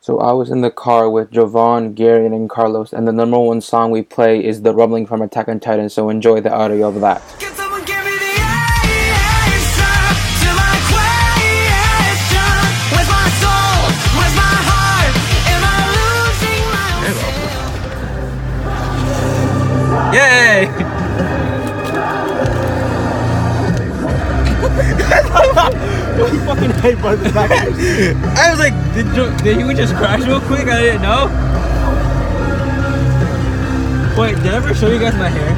So I was in the car with Jovan, Gary, and Carlos, and the number one song we play is the rumbling from Attack on Titan. So enjoy the audio of that. Can someone give me the answer to my question? Where's my soul? Where's my heart? Am I losing my Yay! fucking head by the back. of his- I was like, did you, did you just crash real quick? I didn't know. Wait, did I ever show you guys my hair?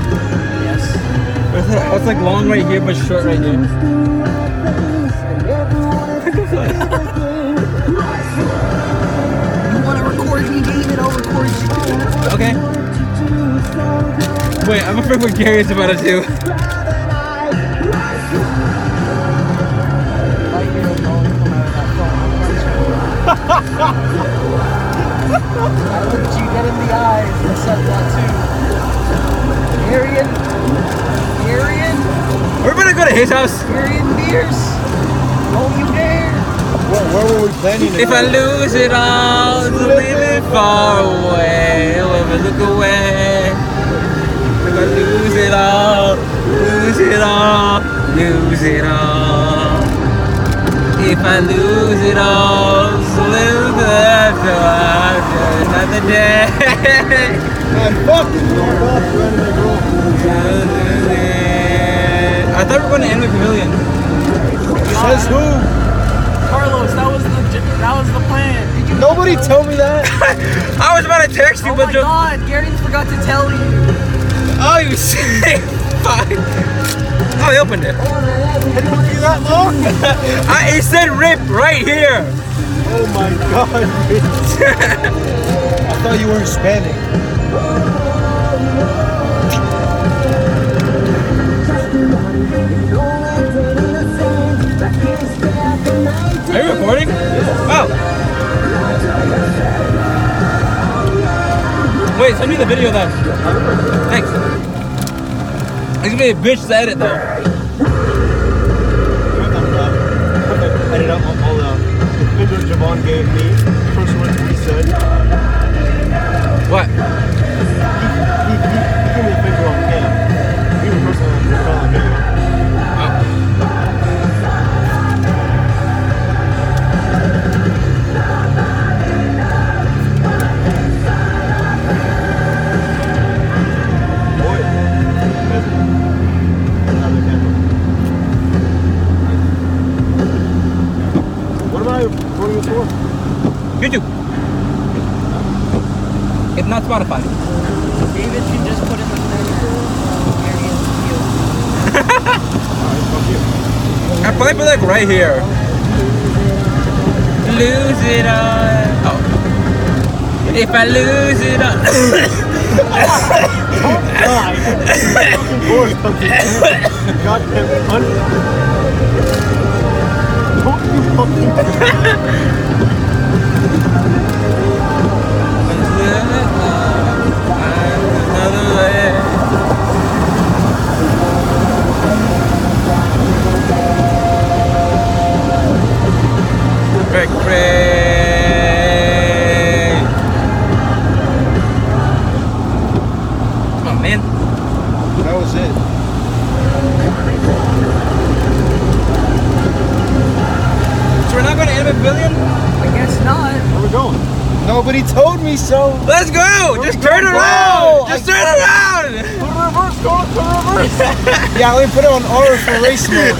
Yes. It's like, it's like long right here, but short right here. You want to record me, David? I'll record you. Okay. Wait, I'm afraid what Gary is about to do. I looked you dead in the eyes and said that too. Arian? Arian? We're gonna go to his house. Arian Beers? Don't you dare! Where, where were we planning to If I lose it all, it's living far away. I'll ever look away. If I lose it all, lose it all, lose it all. If I lose it all, it's living after another day. I fucking drove off running the road. I thought we were going to end with Pavilion. Says who? Carlos, that was the that was the plan. Did you Nobody told me that. I was about to text you, Oh but my you- God, Gary forgot to tell you. oh, you sick fuck. Oh, he opened it. It took you that long. I, it said rip right here. Oh my god, bitch. I thought you were Hispanic. Are you recording? Oh. Wait, send me the video then. Thanks. It's gonna be a bitch to edit though. Edit up all- all uh, the pictures Javon gave me. First one he said, he, What? he, he gave me a finger on cam. He was first one to call on video. Boy, that's another camera. What am I recording this for? YouTube. If not Spotify. David can just put in the pressure. Arian's guilty. I probably put like Uh, right here. Lose it all. Oh. If I lose it all. Boy, goddamn cunt. Don't you fucking Oh man. That was it. So we're not going to end with billion? I guess not. Where we going? Nobody told me so. Let's go! Just turn around! Just turn around! Reverse, go to reverse. yeah, let me put it on auto for race mode.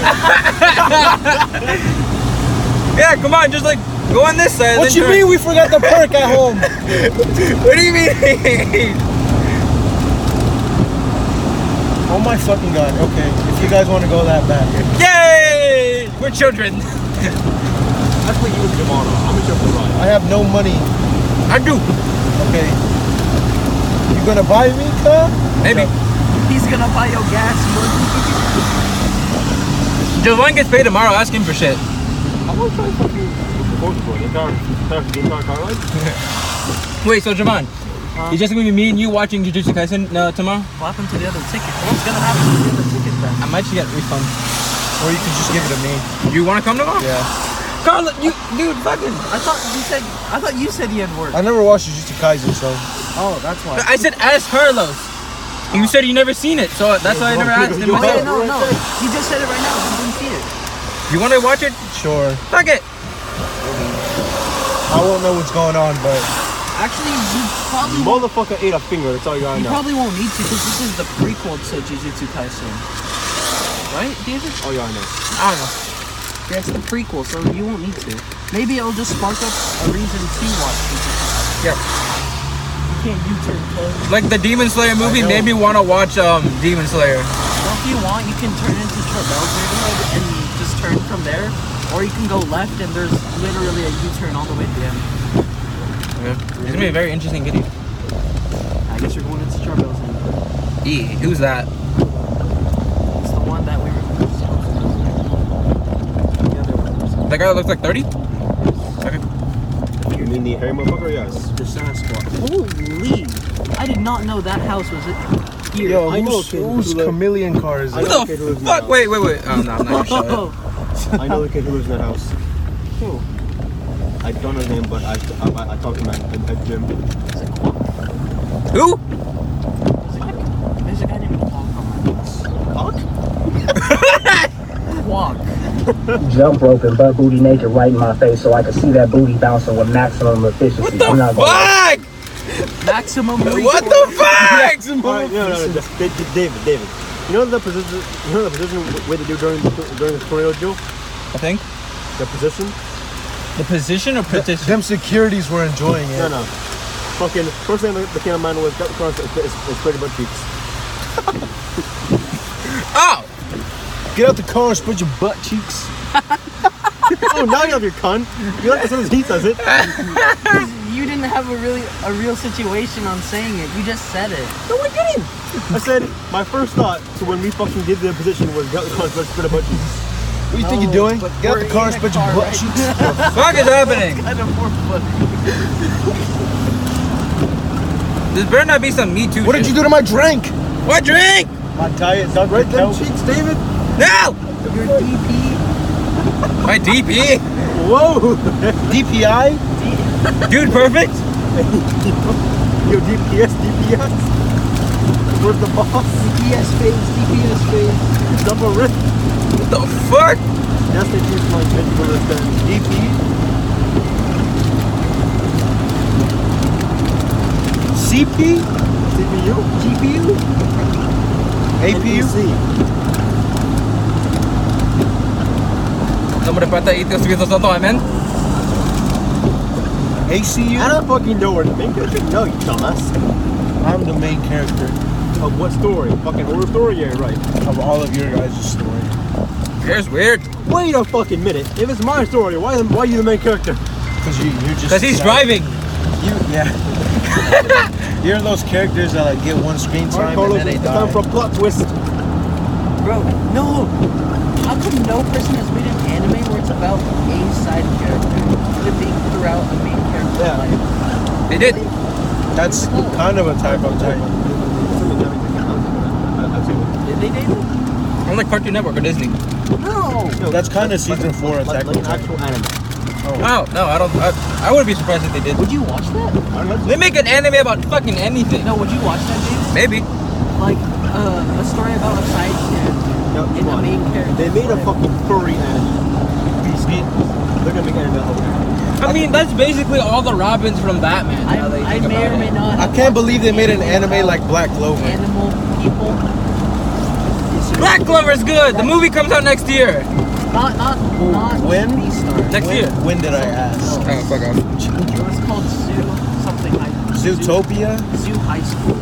Yeah, come on, just like go on this side. What then you turn. mean we forgot the perk at home? What do you mean? Oh my fucking god. Okay, if you guys want to go that bad. Yay! We're children. That's what you and Javon I'm a Javon ride. I have no money. I do. Okay. You gonna buy me, cuh? Maybe. He's gonna buy your gas money. Javon gets paid tomorrow. Ask him for shit. I'm gonna try fucking propose for the car. The car, car ride. Uh, Wait, so Javon, it's just gonna be me and you watching Jujutsu Kaisen uh, tomorrow? What happened to the other ticket? What's gonna happen to the other ticket then? I might just get a refund. Or you could just give it to me. You wanna come tomorrow? Yeah. Carla, you, dude, fucking. I thought you said. I thought you said the N word. I never watched Jujutsu Kaisen, so Oh, that's why. I said ask Carlos. You said you never seen it, so that's why I never asked him. Oh, I yeah, said, no, no. You just said it right now. You didn't see it. You want to watch it? sure. Fuck it. I won't know what's going on, but Actually, you probably won't, Motherfucker ate a finger. That's all you gotta you know. probably won't need to because this is the prequel to Jujutsu Kaisen. Right, David? All you gotta know. I don't know. Yeah, it's the prequel, so you won't need to. Maybe it'll just spark up a reason to watch Jujutsu Kaisen. Yeah. You can't U-turn, plug. Like the Demon Slayer movie made me want to watch um Demon Slayer. Well, if you want, you can turn into Trebel and just turn from there. Or you can go left and there's literally a U-turn all the way to the end. It's gonna be a very interesting video. I guess you're going into Trebel's end. E, who's that? It's the one that we were The other one. That guy looks like 30? Okay. You mean the hairy motherfucker? Yes. The Sasquatch. Holy! I did not know that house was it here. yo, I know who's, a kid who whose lives- chameleon car is I it? know What a kid who the lives in fuck? that house. Wait, wait, wait. Oh, no, I'm not gonna show it. I know the kid who lives in that house. Who? I don't know his name, but I I, I, I talked to him at, at, at gym. Is it Kwok? Who? Is it Kwok? There's a guy named Kwok on my bus. Fuck. Kwok. jump rope and butt booty naked right in my face so I could see that booty bouncing with maximum efficiency. What I'm the not gonna fuck? Maximum reach. What the fuck? All right, no, no, no, just- Da- Da- David, David. You know the position, you know the position where they do during the- during the tornado drill. I think The position? the position or petition. Them securities were enjoying No, it. no. Fucking first thing that came to mind was that cross is, is, is pretty butt cheeks. Oh, Get out the car and spread your butt cheeks. oh, now you have your cunt. You like as soon as he says it. You didn't have a really a real situation on saying it. You just said it. I said my first thought to when we fucking did the position was gut cunt but spit a butt cheeks. What do you think you're No, doing? but Get out we're the car and in a spread your car butt right cheeks. fuck is happening? Kind of more funny. This better not be some Me Too. What did you do to my drink? do? What drink? My diet doesn't Right them help. cheeks, David. No. Your DP. My DP. Whoa! DPI. Dude, perfect. Yo, DPS, DPS. Where's the boss? DPS phase. DPS phase. Double wrist. What the fuck? That's the juice my bitch for this then. DP. CP. CPU? GPU. APU. NPC. No me respeta y te estoy viendo tanto, amén. I ACU. don't fucking know where the main character No, you dumbass. I'm the main character Of what story? Fucking horror story? Yeah, right. of all of your guys' story. Here's weird. Wait a fucking minute. If it's my story, why why are you the main character? Cause you, you're just. Cause he's excited. driving. You, yeah. you're those characters that like get one screen time Carlos, and then it's they die. time for a plot twist. Bro, no. How come no person has made an anime where it's about a side character living throughout a main character's Yeah. life? They did. That's kind of a type of type. Did they date him? I'm like Cartoon Network or Disney. No. That's kind of season four attack Like, like on an Titan. actual anime. Oh no, I don't. I, I wouldn't be surprised if they did. Would you watch that? They make an anime about fucking anything. No, would you watch that, David? Maybe. Like uh, a story about a side character No, and come the on. main character. They made a fucking furry anime. They're gonna make anime out of I mean, that's basically all the Robins from Batman. I, now that you I think may about or may it. not. I have can't watched believe they made an anime about like Black Clover. animal people. Black Clover's good. The movie comes out next year. Not not not When? Beastars. Next year. When, when did I ask? Oh fuck off. It was called Zoo something high. Zootopia? Zoo High School.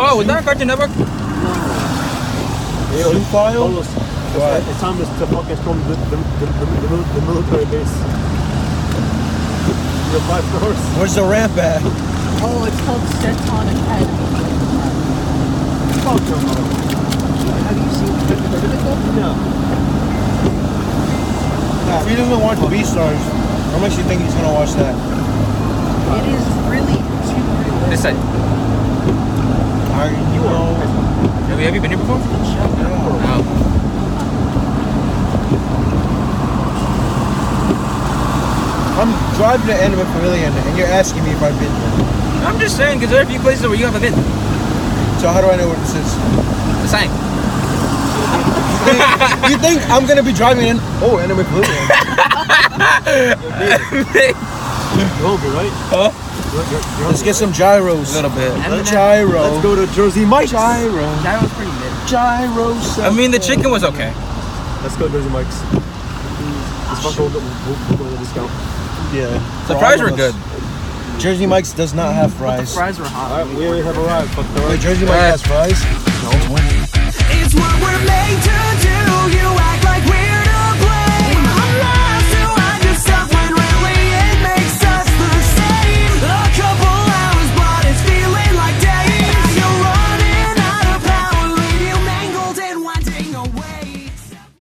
Oh, was that Cartoon Network? No. it. Zoo file? Carlos, it's, it's time to to fucking storm the, the, the, the, mil- the military base. You're five stars. Where's the ramp at? Oh, it's called Seton Academy. Fuck your mother. Have you seen Critical? No. If he doesn't watch Beastars, how much do you think he's gonna watch that? It is really too realistic. This side. Are you know? Have you, have you been here before? Shut up. No. I'm driving to Anime Pavilion and you're asking me if I've been there. I'm just saying, because there are a few places where you haven't been. So how do I know what this is? The sign. you think I'm gonna be driving in? Oh, Anime Pavilion. You're over, right? Huh? You're- you're- you're Let's over, get some gyros. a little bit. Gyro. right? Let's go to Jersey Mike's. Gyro. That was pretty mid. Gyro. I mean, the chicken was okay. Let's go to Jersey Mike's. Let's fuck we'll, go- we'll, we'll go to the discount. Yeah. The fries were good. Jersey Mike's does not have fries. Fries were hot. Alright, Uh, we have arrived. Fuck the Wait, Jersey Mike Yeah. has fries? No. It's what we're made to do. You